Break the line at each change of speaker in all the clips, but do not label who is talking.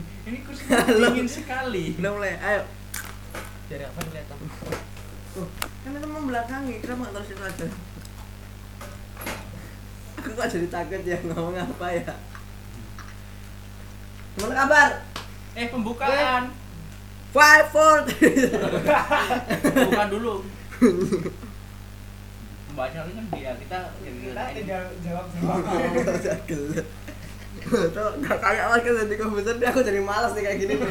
Ini kursinya dingin sekali.
Udah mulai, ayo.
Dari apa kelihatan?
Loh, kan itu membelakangi, kenapa nggak terus itu aja? Aku kok jadi takut ya ngomong apa ya? Gimana kabar?
Eh pembukaan.
Five, four.
Bukan dulu. Pembahasan ini kan dia kita
Kita
jadi
tinggal jawab semua.
Gila. Tuh, gak Oh, kayak awal kan di komputer deh, aku jadi malas nih kayak gini. nih.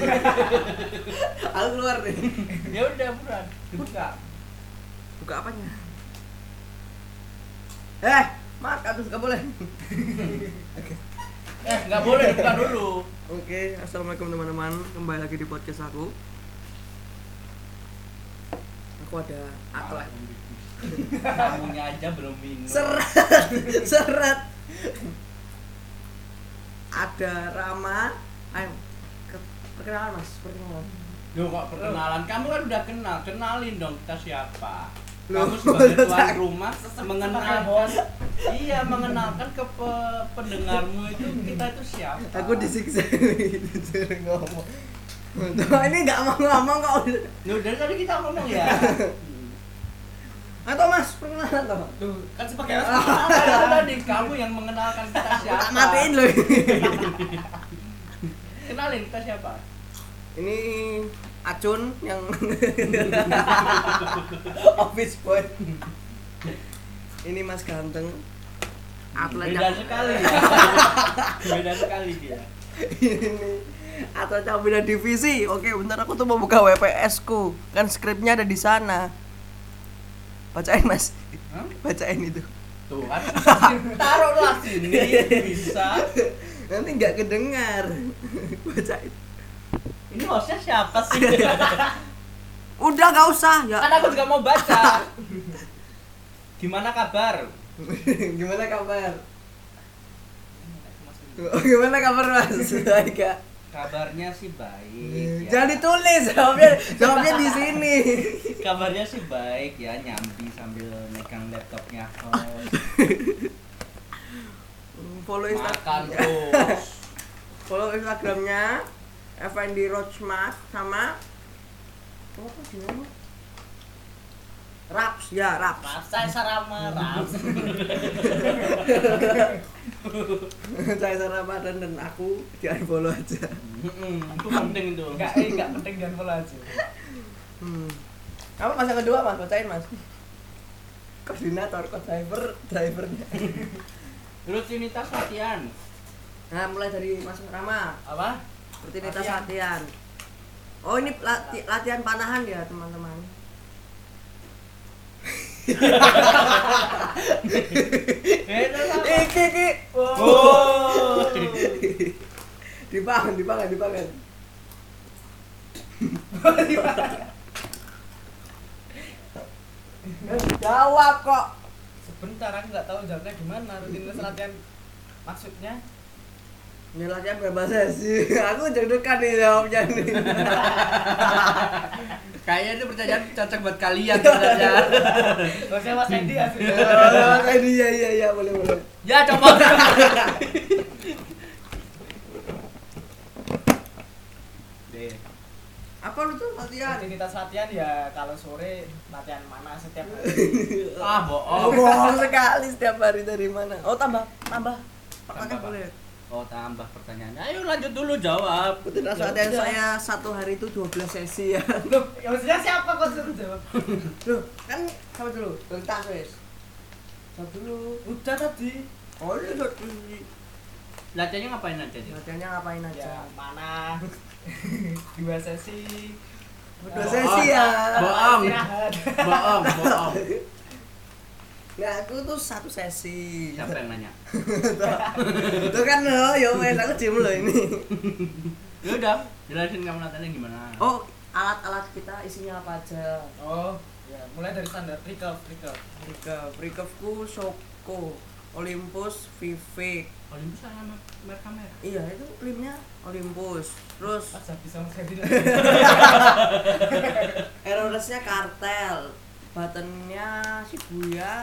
aku keluar nih.
Ya udah buruan dibuka.
Buka apanya? Eh, makan terus gak boleh.
Eh nggak boleh dibuka dulu.
Oke, assalamualaikum teman-teman. Kembali lagi di podcast aku. Aku ada atlet.
Tamunya aja belum minum.
Seret, seret. Ada Rama. Ayo, ke- perkenalan mas, perkenalan.
Loh kok perkenalan? Kamu kan udah kenal, kenalin dong kita siapa. Kamu
Loh,
sebagai tuan
tak-
rumah mengenalkan iya mengenalkan ke pe- pendengarmu itu kita itu siapa.
Aku disiksa gitu, suruh ngomong. Tuh, ini nggak mau ngomong kok.
Loh, dari tadi kita ngomong ya.
Atau mas, perkenalan toh.
Tuh, kan sepakai
Apa yang tadi kamu yang mengenalkan kita
Aku
siapa?
tak matiin loh.
Kenalin kita siapa?
Ini Acun yang office boy. Ini Mas Ganteng. Atlet
Beda
yang-
sekali. Beda sekali dia.
ini atlet yang beda divisi. Oke, bentar aku tuh mau buka WPS ku. Kan skripnya ada di sana. Bacain Mas,
Hah?
bacain itu.
Tuh kan taruhlah sini bisa.
Nanti nggak kedengar. Bacain.
Ini hostnya siapa sih?
Udah nggak usah ya.
kan aku juga mau baca. Gimana kabar?
Gimana kabar? Gimana kabar Mas? Baik, Kak.
Kabarnya sih baik. ya.
Jangan ditulis, jawabnya jawabnya di sini.
Kabarnya sih baik ya, nyambi sambil megang laptopnya. host.
Follow
Makan
Instagram.
terus.
Follow Instagramnya FND Roachmas sama Oh, apa sih namanya? Raps ya, Raps.
Rapsai sarama raps.
Saya Ramadan dan aku jangan follow aja.
Mm-mm, Itu penting itu.
Enggak, eh enggak penting dan pola aja.
Hmm. Apa mas yang kedua mas? Bacain mas. Koordinator, kok driver, drivernya.
Rutinitas latihan.
Nah, mulai dari Mas Rama.
Apa?
rutinitas
Latihan.
latihan. Oh ini lati- latihan panahan ya teman-teman.
Beda lah.
Iki iki.
Oh.
Dipangan, dipangan, dipangan. Jawab kok.
Sebentar aku enggak tahu jawabnya gimana. Rutinitas latihan maksudnya
Ini latihan berapa sesi? Aku deg-degan nih jawabnya nih.
Kayaknya itu pertanyaan cocok buat kalian sebenarnya.
Bosnya Mas Endi ya sudah.
Oh, Tadi ya iya iya boleh boleh.
ya coba. Deh.
Apa lu tuh latihan?
Rutinitas latihan ya kalau sore latihan mana setiap hari.
Ah,
Oh,
bohong.
bohong sekali setiap hari dari mana? Oh, tambah, tambah. Pakai
Tambah, Pak.
boleh.
Oh, tambah pertanyaan. Ayo lanjut dulu jawab.
Rutinitas
Ya
latihan
udah.
saya satu hari itu 12 sesi ya.
Loh, ya maksudnya siapa kok suruh jawab?
Loh, kan sama dulu. Bentar, wes. Sama dulu.
Udah tadi.
Oh, ini udah tinggi.
Latihannya ngapain aja? Jin?
Latihannya ngapain
Ya
aja?
mana? Dua sesi.
Dua
Oh,
sesi ya.
Bohong.
Istirahat.
Bohong, bohong.
Nah, aku tuh satu sesi.
Siapa yang nanya?
Itu kan lo, yo wes aku cium lo ini.
Ya udah, jelasin kamu latihannya gimana.
Oh, alat-alat kita isinya apa aja?
Oh, ya mulai dari standar recall, recall.
Recurve, recurveku Shoko, Olympus, Vivek.
Kalau Oh, bisa sama kamera kamera.
Iya, itu krimnya Olympus. Terus
Pas habis sama Freddy.
Iya. Errorlessnya kartel, buttonnya Shibuya,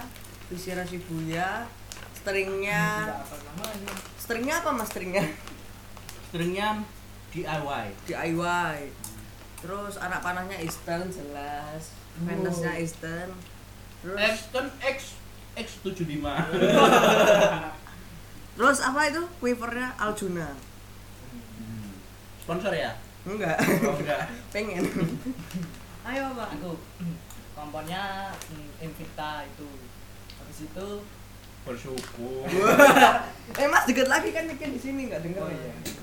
Vishira Shibuya, stringnya,
Apa namanya?
stringnya apa mas stringnya?
Stringnya DIY
DIY terus anak panahnya Eastern jelas fansnya Eastern
Eh.
terus
Aston X X75
terus apa itu wafernya Aljuna
Hmm. sponsor ya
enggak
oh, enggak
pengen ayo bang
aku komponnya mm, Invicta itu habis itu
bersyukur
eh mas deket lagi kan mungkin di sini nggak dengar
Oh,
ya
iya. ya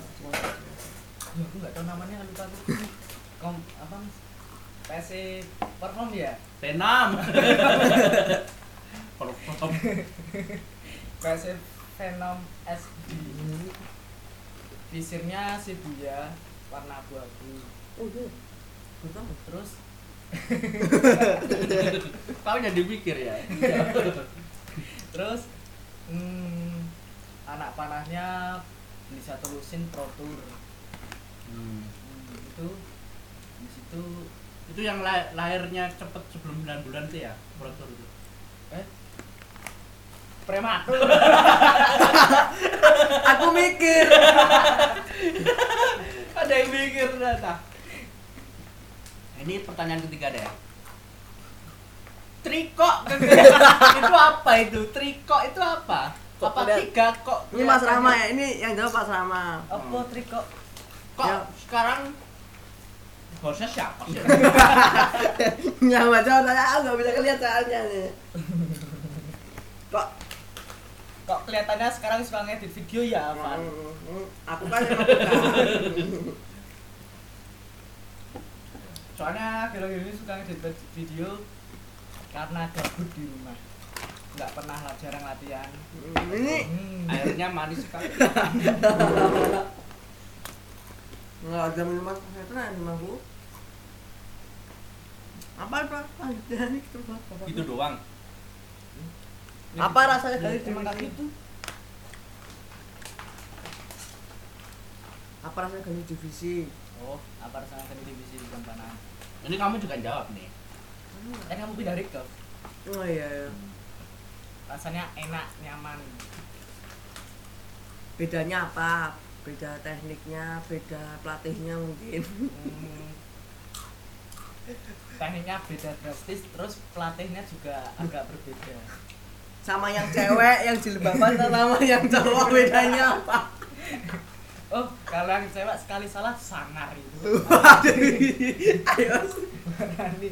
aku nggak tahu namanya lupa aku kom apa Mas? PC perform ya
Tenam perform
PC Venom SD visirnya Shibuya warna abu-abu
oh iya Gua tahu.
terus
kau jadi pikir ya
terus mm, anak panahnya beli satu lusin Pro Tour
Hmm.
Hmm, itu di situ
itu yang la- lahirnya cepet sebelum 9 bulan tuh ya Protur itu
eh prematur
aku mikir
ada yang mikir ternyata ini pertanyaan ketiga deh triko itu apa itu triko itu apa
Kok
apa
udah-
tiga kok
ini Mas Rama
kelihatannya-
ya ini yang jawab Mas Rama
apa trik kok
kok
Ya.
sekarang hostnya siapa sih
yang baca tanya aku nggak bisa kelihatan soalnya nih kok
kok kelihatannya sekarang suka ngedit video ya
Hmm.
apa
aku kan yang bukan.
soalnya akhir-akhir ini suka ngedit video karena gabut di rumah nggak pernah lah jarang latihan
ini
Hmm.
airnya manis sekali
nggak ada minuman kesehatan yang aku apa pak ada nih terbang
itu doang
apa rasanya dari diri
Emang kayak
ini?
gitu
apa rasanya ganti divisi
oh apa rasanya tadi divisi bukan panahan
ini kamu juga jawab nih
kan kamu pindah Rikov
oh iya iya.
rasanya enak nyaman
bedanya apa beda tekniknya beda pelatihnya mungkin
Hmm. tekniknya beda drastis terus pelatihnya juga agak berbeda
sama yang cewek yang jilbaban sama yang cowok bedanya apa
oh kalau yang cewek sekali salah sangar itu
ayo
berani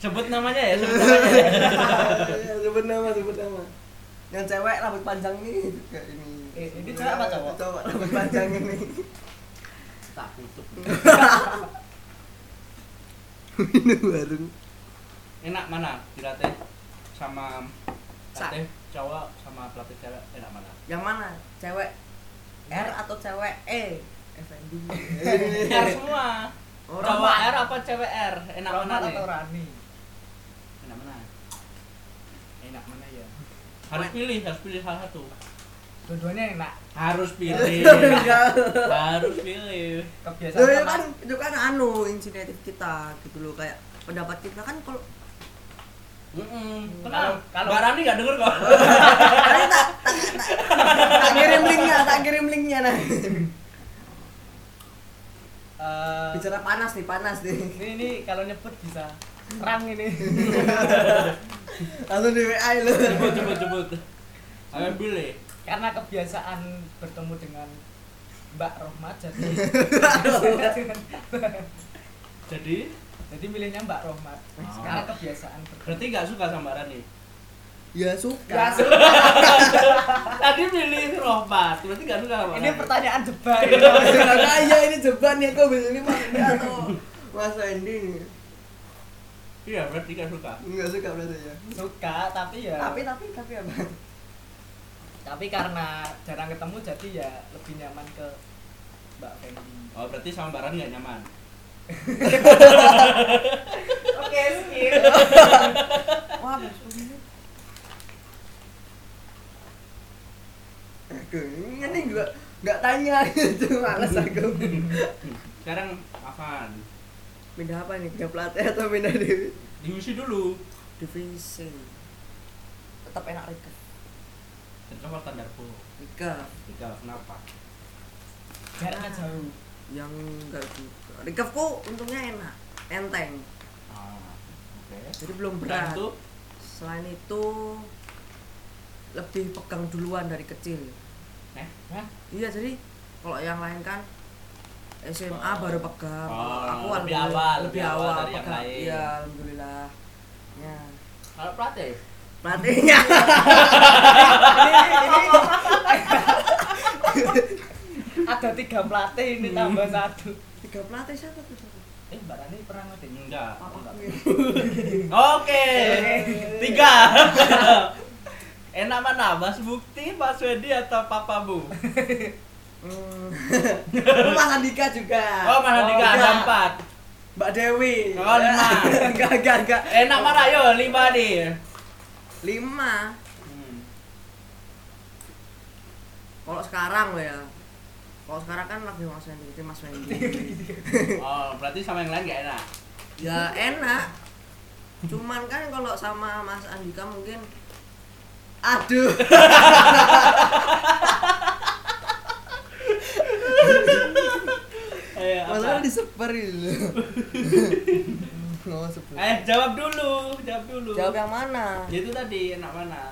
sebut namanya ya sebut namanya ya.
Iya, sebut nama sebut nama yang cewek rambut panjang nih juga ini
Eh, ini cewek apa cowok?
cowok rambut panjang ini
tak tutup
ini warung
enak mana dilatih sama
Sa-
pelatih cowok sama pelatih cewek enak mana
yang mana cewek R atau cewek E Effendi
R semua
orang
cowok R apa cewek R enak mana
Roman
nih
atau Rani
enak mana
enak mana ya
harus pilih harus pilih salah satu
dua-duanya enak
harus pilih harus pilih
Loh,
kebiasaan
itu kan
sama-
itu kan anu inisiatif kita gitu loh kayak pendapat kita kan kalau
Mm-mm.
Kalau-
Tenang,
kalau-
Mbak Rani nggak denger kok.
Kalian tak, tak, tak, tak kirim linknya, tak kirim linknya nah.
Eh,
Bicara panas nih, panas nih.
ini ini kalau nyebut bisa terang ini
Langsung di WA lu.
Jebut, jebut, jebut. Kalian pilih.
karena kebiasaan bertemu dengan Mbak Rohmat jadi
Jadi
jadi milihnya Mbak Rohmat karena kebiasaan bertemu
berarti nggak suka sama Mbak Rani.
Ya suka.
Ya,
Tadi milih Rohmat, berarti nggak suka sama
ini
Rani.
pertanyaan debat
Nah, iya ini jeban ya kok ini Mas Andi atau Mas Andi nih.
Iya, berarti nggak suka.
Enggak suka berarti ya.
suka tapi ya
Tapi tapi tapi apa?
tapi karena jarang ketemu jadi ya lebih nyaman ke Mbak Fendi
Oh, berarti sama Mbak Rani nggak nyaman.
oke skip
Wah, besok ini. Aduh, ini nih gua enggak tanya itu males aku.
Sekarang apaan?
Pindah apa nih? Pindah pelatih atau pindah di
Diusi dulu.
divisi? Tetap enak Rika.
Dan kamu standar bu.
Rika.
Tiga, kenapa?
jaraknya jauh
yang enggak gitu Rikevku untungnya enak enteng
ah oke
jadi belum
Dan
berat
itu
selain itu lebih pegang duluan dari kecil
eh?
nah nah
iya jadi kalau yang lain kan SMA
Oh.
baru pegang Kalau
Oh,
aku
lebih
alhamdulillah-
awal,
lebih awal
dari yang
pegang
lain.
iya alhamdulillah ya
kalau ya? pelatih
pelatihnya
ada tiga pelatih ini tambah satu
tiga pelatih siapa tuh ya.
eh mbak Rani pernah ngoding
enggak
Papa
Enggak.
oke
Eh,
tiga enak mana Eh, mas bukti mas Wedi atau papa bu
hmm. Mas Andika juga
oh mas Andika ada
enggak.
empat
Mbak Dewi
Oh, lima. Eh.
enggak enggak enggak
enak mana yo lima nih
lima
Hmm.
kalau sekarang loh ya kalau sekarang kan lagi Mas Wendy itu Mas Wendy
oh berarti sama yang lain gak enak
ya enak cuman kan kalau sama Mas Andika mungkin aduh
eh, apa?
disebar gitu Oh, sebar.
eh jawab
Oh,
dulu jawab dulu
jawab yang mana
Ya, itu tadi enak mana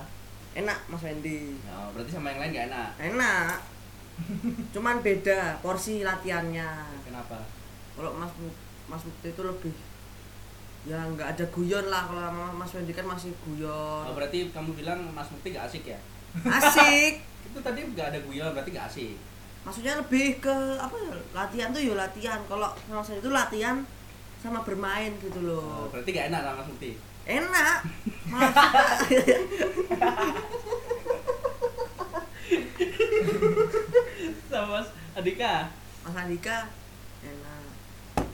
enak Mas Wendy
oh, berarti sama yang lain gak enak
enak cuman beda porsi latihannya
kenapa
kalau Mas Bu- Mas Mukti itu lebih ya nggak ada guyon lah kalau sama Mas Wendy kan masih
oh,
guyon
berarti kamu bilang mas bukti gak asik ya
asik
itu tadi gak ada guyon berarti gak asik
maksudnya lebih ke apa ya latihan tuh ya latihan kalau sama Mas Wendy itu latihan sama bermain gitu
oh,
loh
berarti gak enak sama mas bukti
enak Mas-
sama mas Adika
Mas Andika enak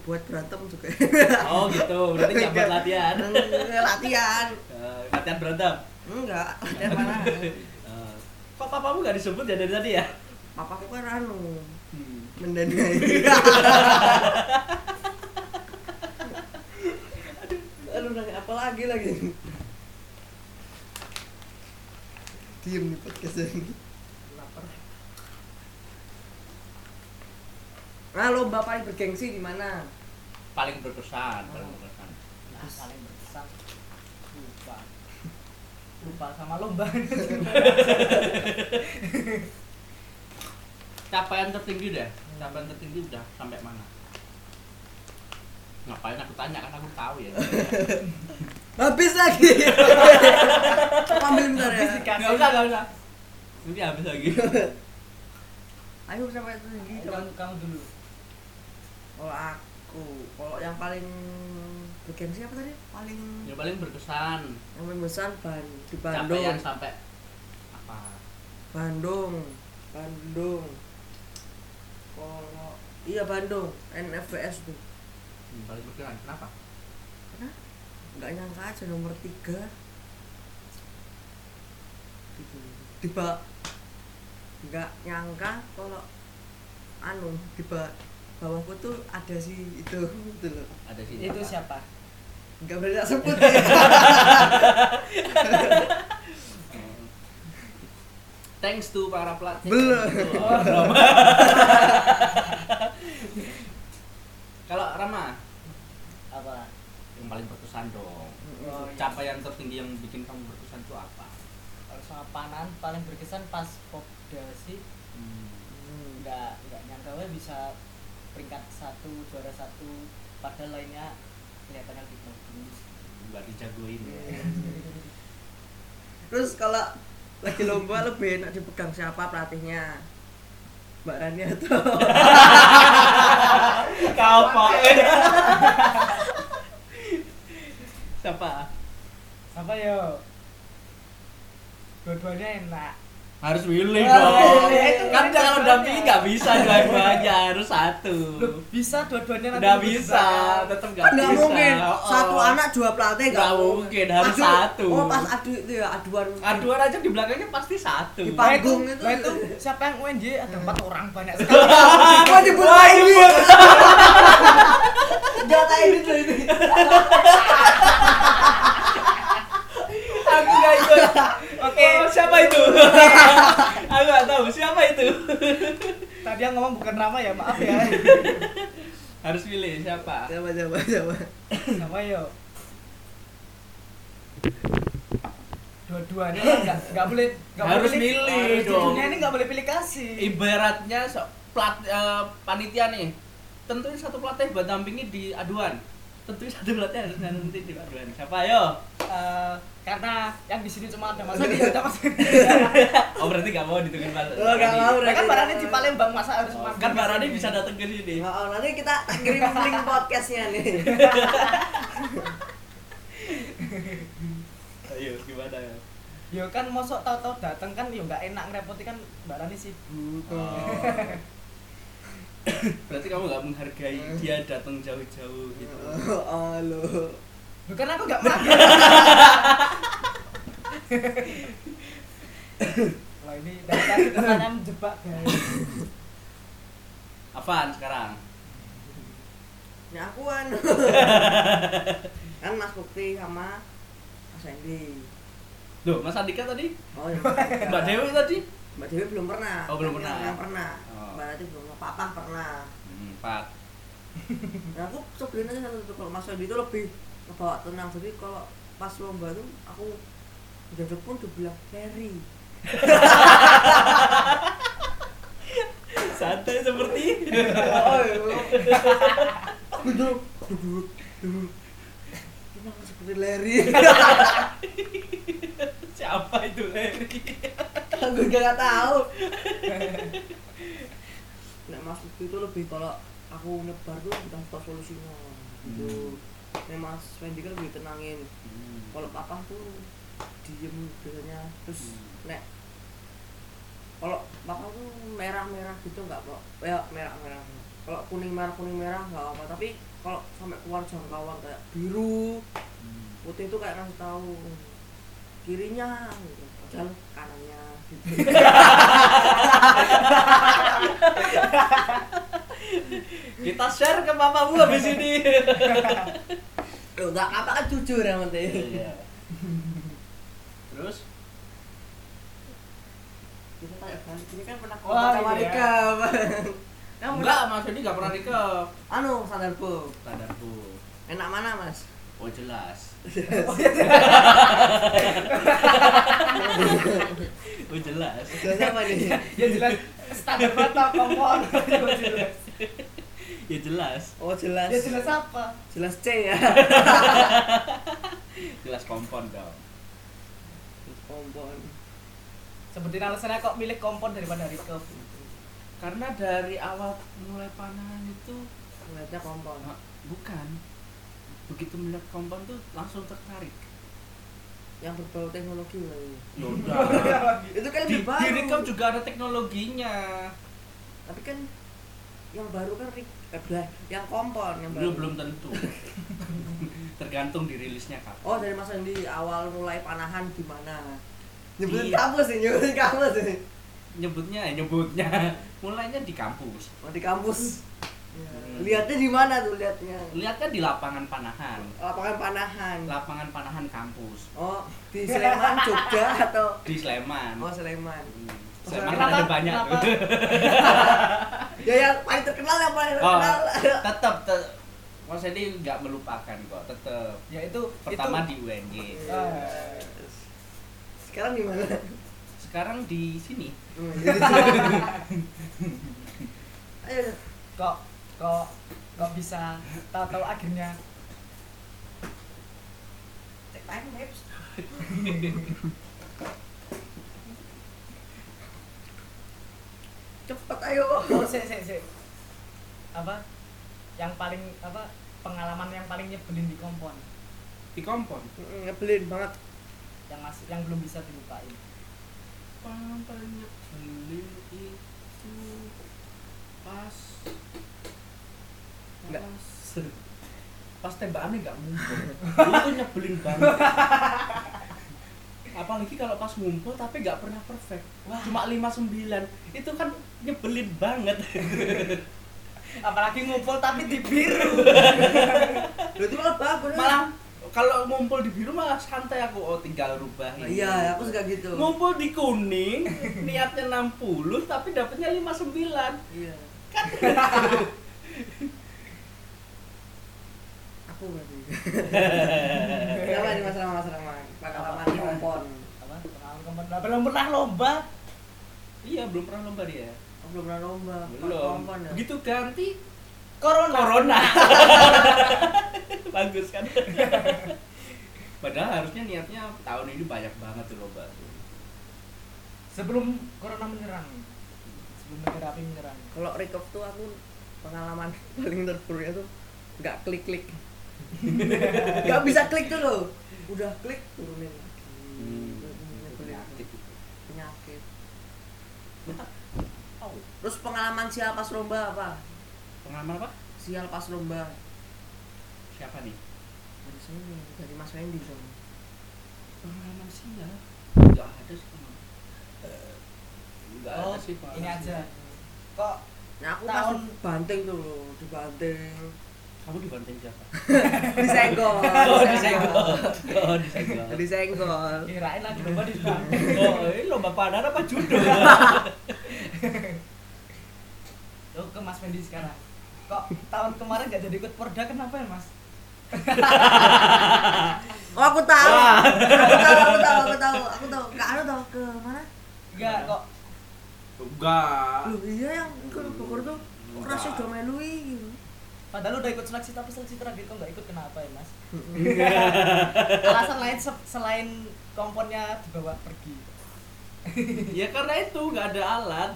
buat berantem juga
oh gitu berarti gak buat latihan
latihan
Eh, latihan berantem
enggak latihan mana
Eh, kok papamu gak disebut ya dari tadi ya
papa aku kan anu
hmm.
mendanai aduh nanya apa lagi lagi diem nih podcast ini
lapar
nah lomba paling bergengsi di mana
paling berkesan paling berkesan
nah paling berkesan lupa lupa sama lomba
capaian tertinggi deh capaian tertinggi udah sampai mana ngapain aku tanya kan aku tahu ya
habis lagi apa ambil bentar ya
Habis dikasih.
nggak usah nggak usah nanti habis lagi
ayo siapa itu lagi
Eh, kamu kamu dulu
kalau aku kalau yang paling bergengsi apa tadi paling
yang Ya, paling berkesan
yang paling besar ban di Bandung
capaian sampai apa
Bandung Bandung kalau iya Bandung NFBS tuh
yang Hmm, paling berkesan kenapa
nggak nyangka aja nomor tiga gitu tiba nggak nyangka kalau anu di ba- bawahku tuh ada si itu gitu loh
ada sih
itu siapa
nggak berani tak sebut ya
thanks to para pelatih
Belum.
Oh, belum. kalau Rama
apa
yang paling berkesan dong
Oh, iya.
capaian tertinggi yang bikin kamu berkesan itu apa
kalau sama panan paling berkesan pas popda sih
Hmm.
nggak nggak nyangka we bisa peringkat satu juara satu padahal lainnya kelihatannya lebih bagus
nggak dijagoin ya
Terus kalau lagi lomba lebih enak dipegang siapa pelatihnya? Mbak Rani atau
kau apain siapa
siapa yo dua-duanya enak
harus milih
Oh,
dong
iya, itu
kan
milih
kalau
dua-duanya.
dampingi nggak bisa dua-duanya harus satu
Loh, bisa dua-duanya
nggak bisa tetap nggak bisa
nggak mungkin
Oh.
satu anak dua pelatih
Nggak mungkin, harus
Adu-
satu.
Oh pas adu itu ya aduan.
aduan aja di belakangnya pasti satu
Di
Nah,
Panggung
itu,
itu.
nah, itu siapa yang UNJ ada empat orang banyak sekali
Wah nyebut lagi. Data ini tuh ini.
aku nggak ikut oke siapa itu eh, aku nggak tahu siapa itu
tadi yang ngomong bukan Rama ya
harus pilih siapa
coba coba coba
Oh,
Sama yo. Dua-duanya lah, nggak nggak boleh nggak
Harus
boleh
milih
Harus di
dong.
Dunia ini nggak boleh pilih kasih.
ibaratnya so, plat eh, panitia nih tentuin satu pelatih buat dampingi di aduan tentuin satu pelatih harus nanti di aduan siapa yo
Eh, karena yang di sini cuma ada Mas Andi, ada Mas Andi.
oh berarti gak mau ditungguin Mas
Oh, nggak
Andi.
mau,
Nah, kan
berarti-
barangnya di Palembang masa harus Iya.
Oh,
mampir
kan
ke
Mbak Rani
sini?
bisa datang ke sini
Oh, oh, nanti kita kirim link podcastnya nih
ayo gimana ya
Ya kan mosok tahu-tahu datang kan ya nggak enak ngerepoti kan Mbak Rani sibuk.
Oh. berarti kamu gak menghargai
Eh.
dia datang jauh-jauh gitu
oh, oh lo
Bukan aku nggak makan. Wah ini dari tadi pertanyaan jebak guys.
apaan sekarang
nyakuan kan Mas Bukti sama Mas Hendy
Loh, Mas Andika tadi?
oh ya
Mbak Dewi tadi?
Mbak Dewi belum pernah
Oh, belum pernah.
yang pernah
Oh.
Mbak Rati belum pernah Papa pernah
Empat.
nah, aku sebenarnya satu satu kalau Mas Hendy itu lebih ngebawa tenang jadi kalau pas lomba tuh aku udah pun dibilang Ferry
Santai seperti.
oh duduk duduk duduk Kenapa seperti Larry?
Siapa itu Larry?
Aku juga gak tahu. Nah, Mas Lutfi itu lebih kalau aku nyebar tuh entah apa solusinya gitu. Nah, Mas Wendy kan lebih tenangin.
Hmm.
Kalau papa tuh diem biasanya terus
Hmm.
nek kalau papa tuh merah-merah gitu nggak kok ya merah-merah kalau kuning merah kuning merah nggak apa tapi kalau sampai keluar jangkauan kayak biru putih itu kayak ngasih tahu kirinya gitu padahal kanannya gitu
Kita share ke papamu habis ini.
Loh, nggak apa kan jujur yang penting
Iya. Terus
kita kayak balik ini kan pernah ke
Wah,
sama
iya.
Rika kamu
enggak Mas Andi enggak pernah nikah.
anu standar bu
Standar bu.
enak mana mas
Oh jelas. iya. Oh jelas.
jelas apa nih
Ya jelas standar mata kompon. Ya jelas.
Ya jelas.
oh jelas
Ya jelas apa?
jelas C ya
Jelas kompon dong.
kompon
Sebutin alasannya kok milih kompon daripada Rico.
Karena dari awal mulai panahan itu
ngeliatnya kompon
Nah, bukan. Begitu melihat kompon tuh langsung tertarik.
yang berbau teknologi lagi
Yaudah.
itu kan
di,
lebih baru
di Recom juga ada teknologinya
tapi kan yang baru kan Rik eh, belah, yang kompon yang baru
belum belum tentu tergantung dirilisnya kapan
oh dari mas Andi awal mulai panahan gimana
Iya.
nyebutin kampus sih nyebutin kampus sih
nyebutnya ya nyebutnya mulainya di kampus
oh, di kampus
Hmm.
lihatnya di mana tuh lihatnya
lihatnya di lapangan panahan
lapangan panahan
lapangan panahan kampus
oh di Sleman Jogja atau
di Sleman
oh Sleman
Hmm,
Oh,
Sleman kan
kenapa-
ada banyak
kenapa?
ya yang paling terkenal yang paling
oh,
terkenal
tetap te- Mas Edi nggak melupakan kok tetap
Ya itu
pertama
itu,
di UNY
Ah.
sekarang di mana
sekarang di sini
Hmm, jadi- ayo
kok kok kok bisa tahu-tahu akhirnya
cek time lapse cepet ayo
oh sik sik sik apa yang paling apa pengalaman yang paling nyebelin di kompon
di kompon
Mm, nyebelin banget
yang masih yang belum bisa dilupain
paling nyebelin itu pas
Enggak.
pas pas tembakannya nggak ngumpul itu nyebelin banget apalagi kalau pas ngumpul tapi nggak pernah perfect cuma 59 itu kan nyebelin banget
apalagi ngumpul tapi di biru
lu itu malah bagus
malah kalau ngumpul di biru malah santai aku oh tinggal rubah
Nah,
ini.
iya aku suka gitu
ngumpul di kuning niatnya 60 tapi dapatnya 59
iya
kan dikat
aku berarti kenapa ini Iya, mas Rahman mas Rahman pengalaman
Apa?
kompon
apa pengalaman kompon Lah, belum pernah lomba
iya belum pernah lomba dia
aku belum pernah lomba
belum
kompon ya
begitu ganti
corona
corona bagus kan padahal harusnya niatnya tahun ini banyak banget tuh lomba tuh
sebelum corona menyerang sebelum terapi menyerang
kalau recap tuh aku pengalaman paling terburuknya tuh nggak klik klik nggak bisa klik tuh loh udah klik turunin lagi
Hmm,
Nyebelin.
penyakit itu.
penyakit
Oh,
terus pengalaman sial pas lomba apa
pengalaman apa?
sial pas lomba
Siapa nih?
dari sini dari mas Wendy dong
Pengalaman sial? Enggak ada sih pengalaman. Enggak
oh
Eh, ada sih pengalaman.
ini
sial.
aja kok
nah aku pas
Tahun-
banting tuh loh dibanting
Kamu dibanting siapa?
disenggol
Oh, disenggol. Oh, disenggol.
disenggol
kirain lagi lomba di Jepang.
Oh, ini lomba padar apa judo?
Lo ke Mas Fendi sekarang. Kok tahun kemarin gak jadi ikut Porda kenapa ya Mas?
oh aku tahu
Wah.
aku tahu aku tahu aku tahu aku tahu nggak ada tahu ke mana
Enggak kok
Enggak.
Loh iya yang ke Bogor tuh kok
Enggak.
rasanya udah melui gitu.
padahal udah ikut seleksi tapi seleksi terakhir kok gak ikut kenapa ya Mas? Alasan lain se- selain komponnya dibawa pergi.
Ya karena itu enggak ada alat.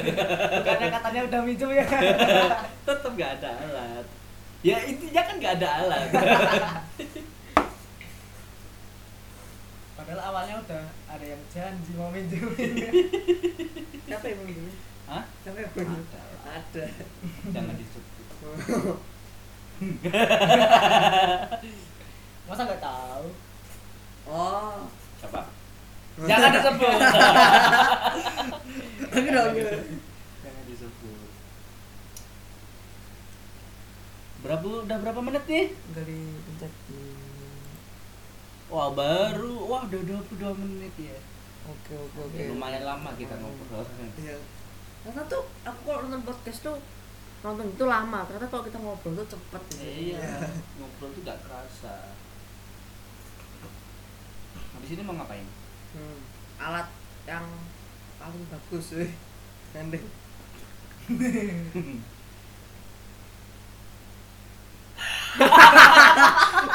Bukannya katanya udah minjem ya.
Tetap enggak ada alat. Ya intinya kan enggak ada alat.
Padahal awalnya udah ada yang janji mau minjem.
Siapa yang begini?
Hah?
Siapa yang
Ada.
begini? Ada.
Jangan disebut.
Masa gak tahu?
Oh.
Siapa? Jangan disebut.
Aku dong.
Jangan disebut. Berapa udah berapa menit nih?
Enggak dipencet.
Wah baru, wah udah 22 menit ya.
Oke oke oke.
Ya, lumayan lama kita ngobrol.
Iya. Karena tuh aku kalau nonton podcast tuh nonton itu lama. Ternyata kalau kita ngobrol tuh cepet gitu.
Iya, ngobrol tuh gak kerasa. Habis ini mau ngapain?
Hmm. Alat yang paling bagus sih. Pendek.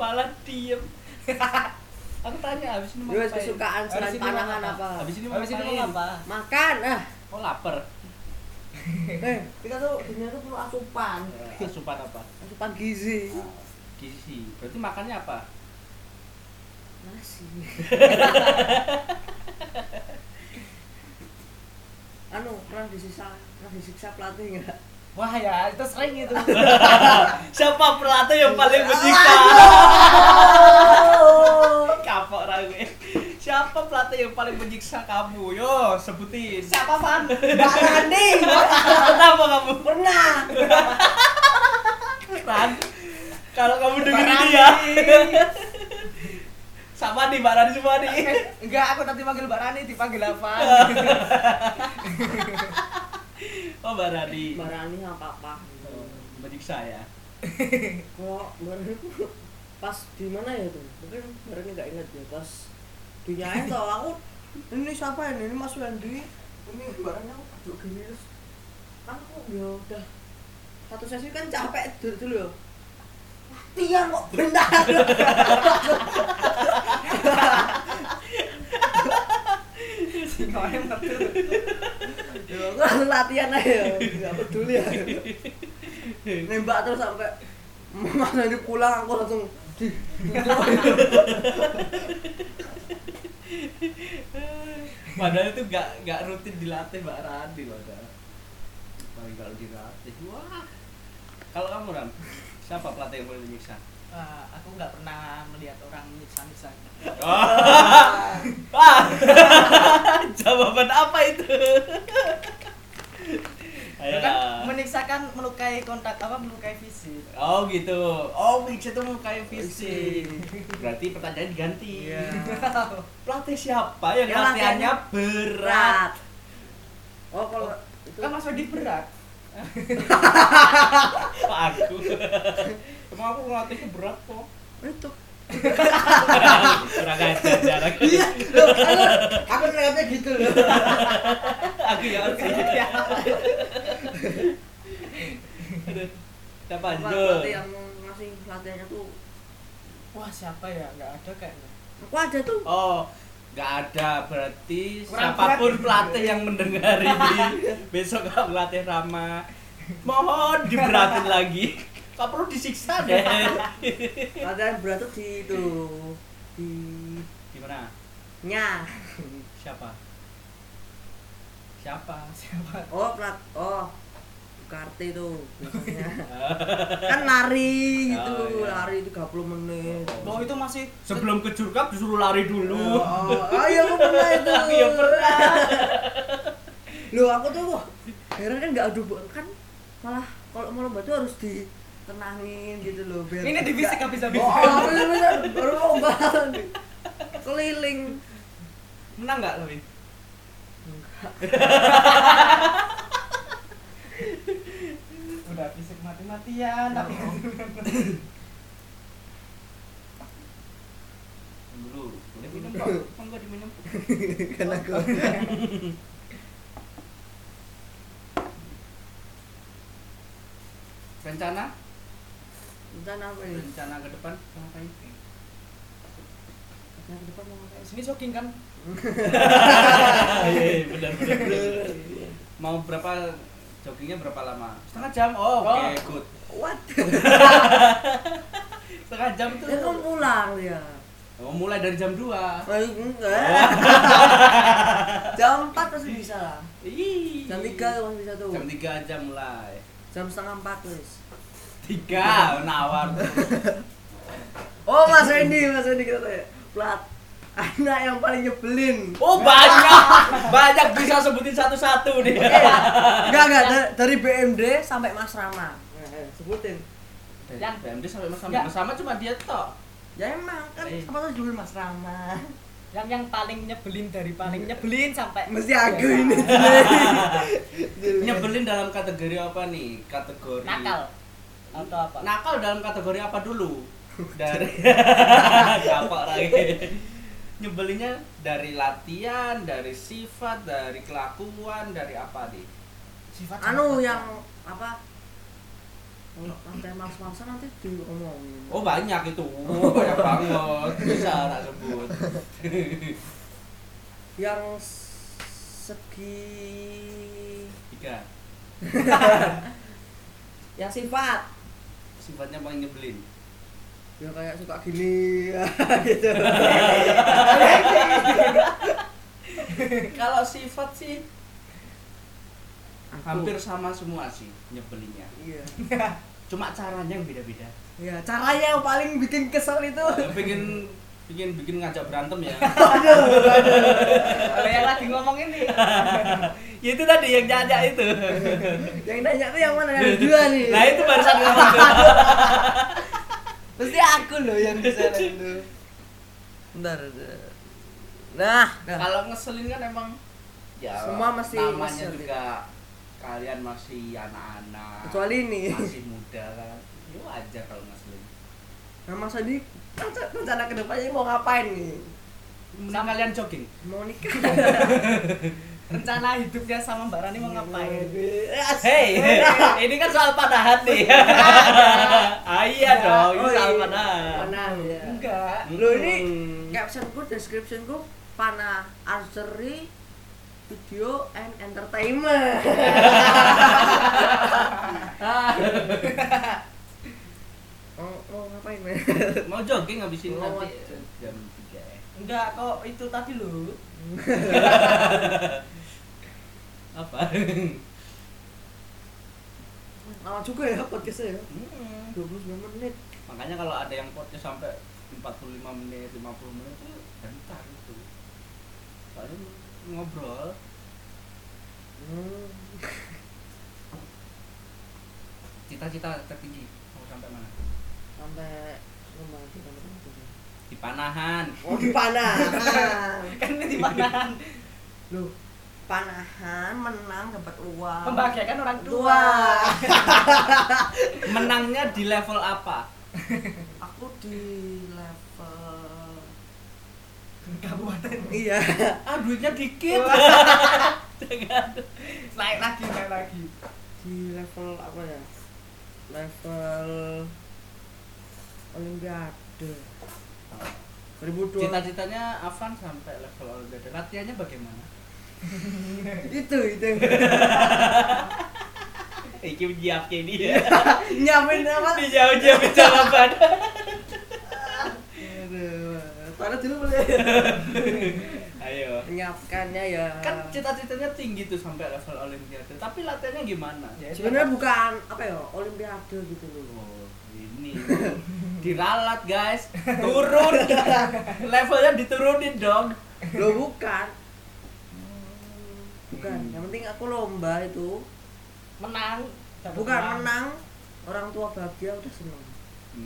Malah diem. Aku tanya habis ini mau
Terus
ngapain?
kesukaan
Habis
selain
ini mau
panangan
apa?
apa?
Habis ini mau
Habis ini mau
ngapain?
apa?
Makan. Ah.
Oh lapar.
Eh, kita tuh dunia tuh perlu asupan.
Eh, Asupan apa?
Asupan gizi.
Ah, Gizi. Berarti makannya apa?
Nasi. anu, pernah disiksa, pernah disiksa pelatih enggak?
Wah ya, itu sering itu.
Siapa pelatih yang paling menyiksa? Oh. Kapok ra gue. Siapa pelatih yang paling menyiksa kamu? Yo, sebutin.
Siapa fan?
Mbak Randi,
Kenapa kamu?
pernah.
Ran, kalau kamu dengerin
Rani.
ini ya. Sama nih Mbak Rani semua nih.
Enggak, aku nanti manggil Mbak Rani, dipanggil apa?
Oh Mbak Rani.
Mbak Rani sama papa.
Oh, Menyiksa ya.
Kok Mbak Rani tuh pas di mana ya tuh? Mungkin Mbak Rani enggak ingat ya pas dinyain tau aku ini siapa ya? Ini Mas Wendy. Ini Mbak Rani aku duduk gini terus kan aku ya udah satu sesi kan capek dulu dulu ya. Tiang kok bentar.
Si kawannya metu.
Ya, aku latihan aja nggak peduli ya nembak terus sampai mas nanti pulang aku langsung di
Padahal itu gak, gak rutin dilatih Mbak Rani loh. Dal. Paling kalau dilatih. Wah. Kalau kamu Ram, siapa pelatih yang paling menyiksa?
Wah, Ah, aku nggak pernah melihat orang nyiksa-nyiksa.
Wah, jawaban apa itu? Ayo.
Kan menyiksa kan melukai kontak apa melukai fisik.
Oh gitu. Oh Wix itu mau kayak fisik. Berarti pertanyaan diganti. Pelatih siapa yang
Yang
latihannya
latihannya
berat?
berat oh kalau itu
Kan Mas Wendy berat.
Pak aku. Emang aku ngelatihnya berat kok.
itu
Kurang ajar jarak.
iya loh, aku aku terlihatnya gitu loh
Aku ya aku
Iya.
ya. Aduh. Siapa
Pelatih
Jul?
yang ngasih latihannya tuh
Wah, siapa ya? Enggak ada kayaknya.
aku aja tuh
Oh, nggak ada berarti
Kurang
siapapun
berat.
pelatih yang mendengar ini besok kalau melatih Rama mohon diberatin lagi. Gak perlu disiksa deh.
latihan berat tuh di itu di
Gimana?
nya
Siapa? Siapa?
Siapa?
oh plat oh kartu itu biasanya kan lari gitu
Oh, iya.
lari 30 menit
Oh, itu masih
Sebelum ke jurkap disuruh lari dulu.
Oh, oh, oh, iya aku pernah itu.
Aku ya pernah.
Loh, aku tuh wah, heran kan nggak adu bo- kan malah kalau mau lomba tuh harus ditenangin gitu loh biar
Ini di fisik habis
Oh,
habis.
oh, bener bener baru lomba. Keliling.
Menang nggak tapi?
Udah fisik mati-matian tapi
Dulu. Udah minum kok. Kok nggak diminum?
Karena aku
Rencana?
Bentar apa ini?
Rencana ke depan mau ngapain?
Nah, ke depan mau ngapain?
sini shocking kan.
Iya, iya, benar benar. benar. Mau berapa joggingnya berapa lama? Setengah jam. Oh, oke,
Oh.
good.
What?
Setengah jam tuh.
Ya kan pulang ya.
Oh, mulai dari jam 2.
Eh, enggak. Jam 4 pasti bisa lah.
Ih.
Jam 3 masih bisa tuh.
Jam 3 aja mulai.
Jam setengah 4 wis.
Tiga, nawar tuh.
Oh Mas Wendy, Mas Wendy kita tanya Plat Anak yang paling nyebelin
Oh banyak, banyak bisa sebutin satu-satu nih.
Eh, Enggak, enggak, da- dari BMD sampai Mas Rama Eh, eh, Sebutin
Yang BMD sampai mas sampai
Ya.
Mas sama cuma dia toh.
Ya emang, kan
Eh.
apa tuh judul Mas Rama
Yang yang paling nyebelin dari paling nyebelin sampai
Mesti aku
Ya.
ini
Iya,
jelek.
Nyebelin dalam kategori apa nih? Kategori
nakal atau apa?
Nah,
Nakal dalam kategori apa dulu? Dari apa lagi? Nyebelinnya dari latihan, dari sifat, dari kelakuan, dari apa nih?
Sifat
Anu
sifat.
yang apa Lantai mas-masa nanti diomongin
Oh banyak itu, oh, banyak banget bisa tak sebut.
Yang s- segi
Tiga,
Yang sifat
sifatnya paling nyebelin.
Ya kayak suka gini gitu
Kalau sifat sih
Aku.
hampir sama semua sih nyebelinnya.
Iya
Cuma caranya yang beda-beda.
Ya, caranya yang paling bikin kesel itu.
Pengen bikin bikin ngajak berantem ya.
Kalau yang lagi ngomong ini.
ya itu tadi yang ngajak itu.
yang nanya tuh yang mana? Yang dua nih.
Nah itu barusan ngomong tuh.
Pasti aku loh yang bisa itu. Bentar. bentar. Nah, nah.
kalau ngeselin kan emang ya
Semua mesti
namanya
ngeselin.
juga kalian masih anak-anak
kecuali ini.
masih muda kan ya wajar kalau ngeselin
Nah, Mas Adi, renca- rencana kedepannya mau ngapain nih?
mending kalian jogging
Mau nikah?
Rencana hidupnya sama Mbak Rani mau ngapain?
hey ini kan soal panahan nih ah, iya dong
Oh,
ini soal panahan
Panah. ya.
Enggak.
Mm.
Lo ini captionku, descriptionku, panah archery video and entertainment. mau, mau ngapain men?
mau jogging habisin
Mau
nanti
jogging.
jam 3 ya
Enggak kok itu tadi loh.
apa
Lama juga ya podcastnya ya.
Mm.
29 menit.
makanya kalau ada yang podcast sampai 45 menit 50 menit itu bentar itu kalau ngobrol
Hmm.
cita-cita tertinggi mau sampai mana
Sampai rumah kita berapa?
di panahan
Oh, di panah.
Kan ini di panahan.
Loh, panahan menang dapat uang
membahagiakan orang tua
Ah. tua
menangnya di level apa
aku di level
kabupaten
iya
ah duitnya dikit
naik lagi naik lagi
di level apa ya level olimpiade 2002
cita-citanya Avan sampai level olimpiade latihannya bagaimana
itu itu
Iki menyiapkan ini ya
nyamin apa
Di jauh-jauh jawaban
Aduh, toilet dulu boleh
Ayo
menyiapkannya ya
Kan cita-citanya tinggi tuh sampai level olimpiade Tapi latihannya gimana?
Ya,
sebenarnya bukan apa ya olimpiade gitu loh
Oh, ini diralat guys turun levelnya diturunin dong
lo bukan bukan yang penting aku lomba itu
menang dapat
bukan
uang.
menang orang tua bahagia udah seneng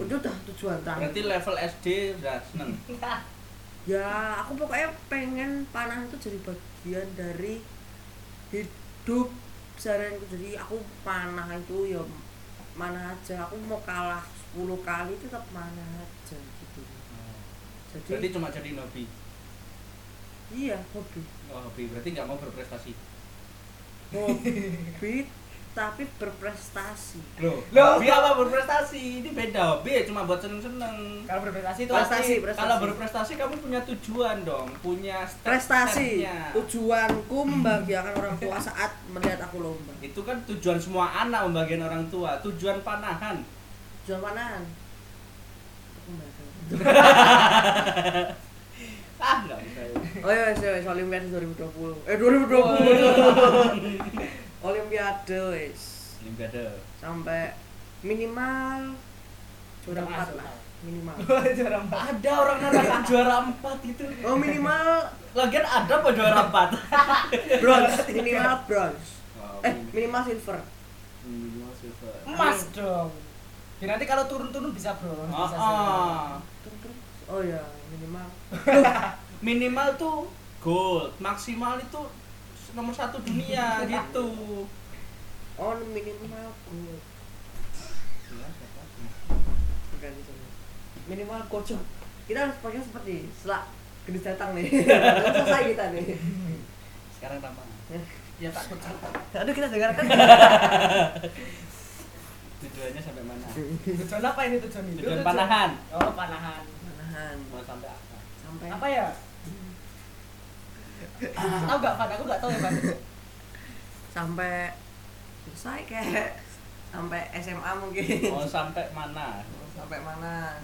udah udah tujuan terakhir
berarti level SD udah seneng
ya aku pokoknya pengen panah itu jadi bagian dari hidup seharianku jadi aku panah itu ya mana aja aku mau kalah 10 kali tetap mana aja gitu jadi
berarti cuma jadi hobi
iya hobi
oh, hobi berarti nggak mau berprestasi
hobi tapi berprestasi
loh
Loh.
hobi apa berprestasi ini beda hobi ya cuma buat seneng seneng
kalau berprestasi itu
Prestasi,
pasti
prestasi.
kalau berprestasi kamu punya tujuan dong punya
prestasi
step-stepnya.
tujuanku membahagiakan orang tua saat melihat aku lomba
itu kan tujuan semua anak pembagian orang tua tujuan panahan
tujuan panahan Aku membahagiakan.
ah nggak bisa ya.
Oh iya, wes wes Olimpiade 2020. Eh 2020. Olimpiade wes.
olimpiade
Sampai minimal juara 4 lah,
Internasional.
minimal.
juara empat
ada orang nantang juara empat gitu
Oh minimal
Lagian ada apa juara empat?
bronze, minimal bronze. Eh
Eh,
minimal silver.
minimal silver.
emas dong biar nanti kalau turun-turun bisa bro
Oh,
bisa
oh.
Oh iya, minimal.
minimal tuh gold, maksimal itu nomor satu dunia gitu.
Oh minimal gold. Bukan itu. Minimal kocok. Kita harus pakai seperti setelah gede datang nih. Belum Selesai kita nih.
Sekarang tambah. Ya tak kucing.
Aduh kita dengarkan.
Tujuannya sampai mana?
tujuan apa ini tujuan itu
Tujuan panahan.
oh panahan
Menahan
Mau sampai apa?
sampai
apa ya tahu gak Van aku gak tahu ya Van
sampai selesai kayak sampai SMA mungkin
Mau sampai mana?
sampai mana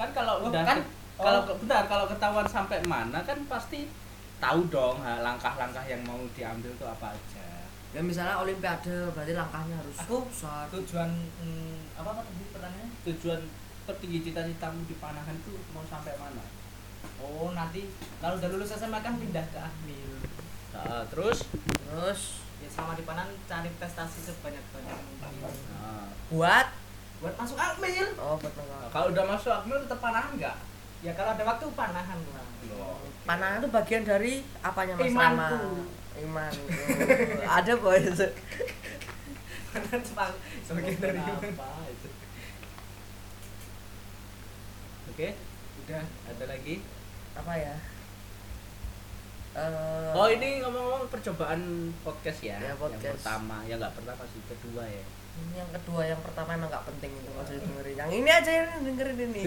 Kan kalau
Oh,
udah
kan?
kalau
Oh.
bentar kalau ketahuan sampai mana kan pasti tahu dong ha, langkah-langkah yang mau diambil tuh apa aja.
ya misalnya Olimpiade berarti langkahnya harus
Aku-
besar
tujuan hmm, apa apa tadi pertanyaannya
Tujuan tertinggi cita-citamu di panahan tuh mau sampai mana?
oh nanti kalau udah lulus SMA kan pindah ke Akmil
Nah, terus
terus
ya selama di Panan cari prestasi sebanyak-banyak mungkin
Nah,
buat
buat masuk Akmil
oh buat apa?
kalau udah masuk Akmil tetap panahan nggak?
ya kalau ada waktu panahan lah
Loh.
panah itu bagian dari apanya mas
Imanku.
Rama iman ada boy
Panan cuma sebagian dari
apa itu? Oke,
udah
ada lagi.
apa ya Eh,
Oh ini ngomong-ngomong percobaan podcast ya,
Ya,
yang
podcast.
pertama, ya nggak pertama sih kedua ya.
ini yang kedua yang pertama emang nggak penting itu kalau dengerin yang ini aja yang dengerin ini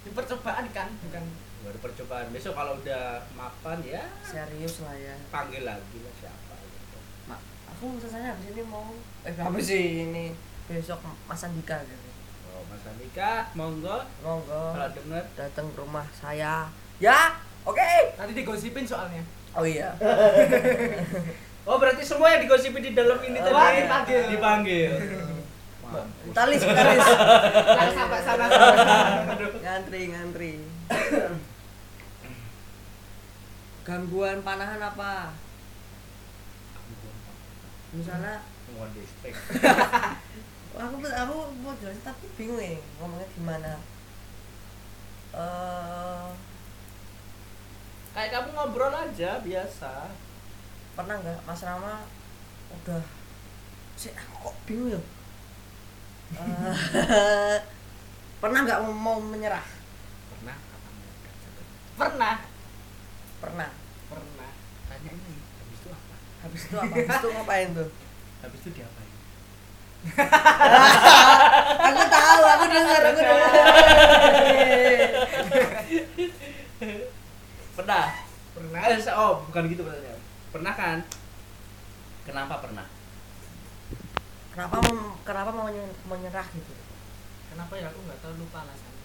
ini percobaan kan bukan
Baru percobaan. Besok kalau udah mapan ya
serius lah ya
panggil lagi lah siapa. gitu.
Ma- aku selesainya habis ini mau eh habis ini besok Mas Andika gitu
Oh, Mas Andika, monggo
monggo
kalau denger
datang ke rumah saya ya oke
nanti digosipin soalnya
oh iya
Oh berarti semua yang digosipin di dalam ini
Oh,
tadi
iya.
dipanggil. Dipanggil. Mampus.
talis talis
Jangan sampai sana sana.
ngantri ngantri gangguan panahan apa misalnya
One day stick.
aku aku mau jelasin tapi bingung ya ngomongnya gimana eh
Kayak kamu ngobrol aja biasa.
pernah nggak Mas Rama udah sih aku kok bingung ya Eh, pernah nggak mau menyerah
pernah apa enggak
pernah
pernah
pernah tanya ini habis itu apa
habis itu apa habis itu ngapain tuh
habis itu diapain
aku tahu aku dengar aku dengar
pernah pernah eh, oh bukan gitu pertanyaannya pernah kan kenapa pernah
kenapa mau kenapa mau menye- menyerah gitu
kenapa ya aku nggak tahu lupa alasannya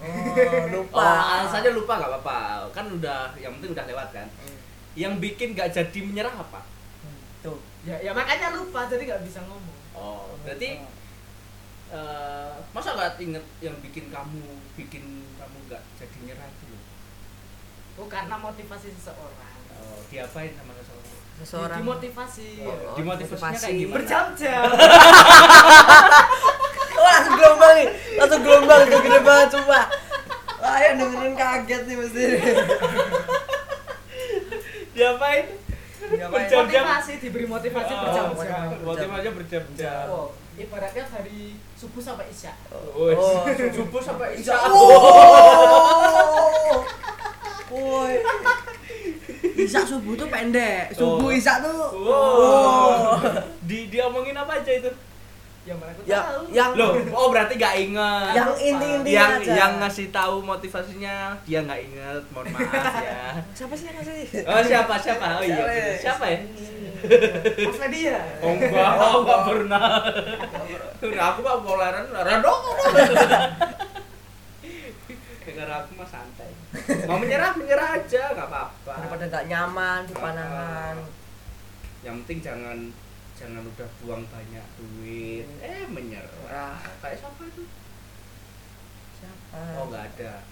oh lupa
oh alasannya lupa nggak apa-apa kan udah yang penting udah lewat kan yang bikin nggak jadi menyerah apa
tuh
ya ya makanya lupa jadi nggak bisa ngomong
oh berarti eh, masa nggak inget yang bikin kamu bikin kamu nggak jadi menyerah itu loh
oh karena motivasi seseorang
oh, diapain sama seseorang
seseorang
dimotivasi
Oh, dimotivasinya kayak gimana?
berjam-jam
Wah, langsung gelombang nih langsung gelombang itu gede banget coba Wah, yang dengerin kaget nih mesti
diapain
Diapain?
Berjam-jam.
motivasi diberi motivasi
Oh,
berjam-jam
motivasinya berjam-jam
Oh, ibaratnya dari subuh sampai isya
Wes.
Oh.
subuh sampai isya
Oh. Woi. Isak subuh tuh pendek.
Oh.
Subuh isak tuh.
Wow.
Wow.
Di diomongin apa aja itu?
yang mana aku
Ya,
tahu
yang
Loh, oh berarti gak inget.
yang inti-inti
yang,
aja.
yang ngasih tahu motivasinya dia nggak inget, mohon maaf ya.
siapa sih yang ngasih?
Oh siapa siapa? Oh iya, bener. siapa ya?
Mas Fedi ya
Oh enggak, oh, enggak pernah. Udah aku mah poleran, laran dong. Karena aku mah santai. Mau menyerah menyerah aja, nggak apa-apa.
Daripada nggak nyaman di panangan.
Yang penting jangan jangan udah buang banyak duit. Eh menyerah.
Wah,
Kayak siapa itu?
siapa?
Oh nggak ada.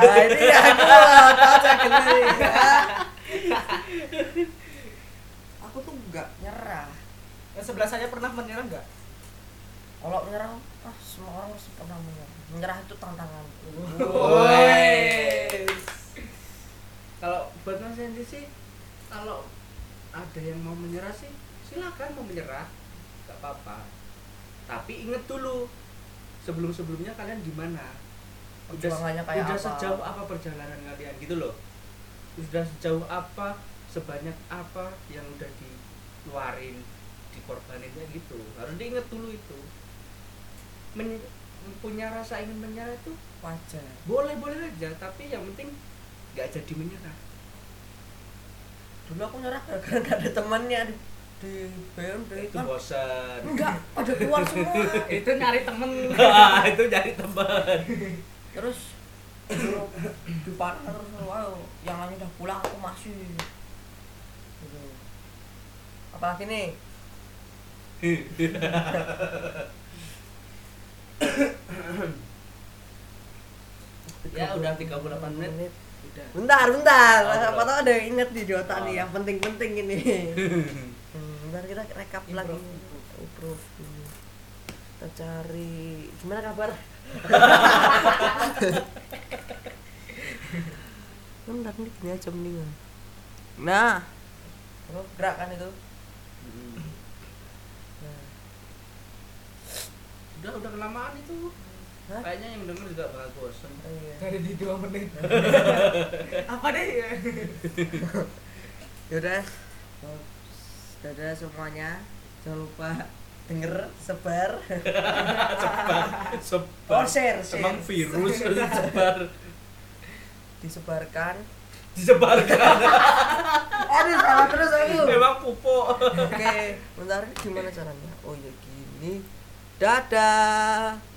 Nah, ini aku lah, kocak ini. ya. Aku tuh nggak nyerah.
yang sebelah saya pernah menyerah nggak
Kalau nyerah, ah semua orang pasti pernah menyerah. Menyerah itu tantangan.
Wes. Kalau buat Mas Hendy sih, kalau ada yang mau menyerah sih, silakan mau menyerah, nggak apa-apa. Tapi inget dulu, sebelum-sebelumnya kalian gimana?
Perjuangannya kayak
udah
apa?
sejauh apa perjalanan kalian gitu loh? Udah sejauh apa, sebanyak apa yang udah dikeluarin, dikorbanin kayak gitu. Harus diinget dulu itu. Men- punya rasa ingin menyerah itu
Wajar.
boleh boleh aja tapi yang penting nggak jadi menyerah
dulu aku nyerah gara-gara gak ada temannya di, di BMD
itu
kan
bosan
enggak pada keluar semua
Eh. itu nyari temen
Ah, itu jadi teman
terus suruh di parang terus suruh ayo yang lain udah pulang aku masih gitu. apalagi nih
ya udah 38 menit
udah
bentar bentar Ah.
Oh,
apa
belum.
tau ada yang inget di otak
Oh.
nih yang penting-penting ini Hmm, bentar kita rekap lagi
Improve, improve.
improve dulu. kita cari gimana kabar bentar nih gini aja mendingan nah terus gerak kan itu nah.
udah udah kelamaan itu
Hah?
kayaknya yang denger juga bakal bosan
iya.
dari di dua menit apa deh
yaudah dadah semuanya jangan lupa denger sebar
Ah, sebar
oh share share
emang virus sebar
disebarkan
disebarkan
aduh salah terus aku
emang pupuk
Oke, bentar gimana caranya? Oh ya gini. iya, Dadah.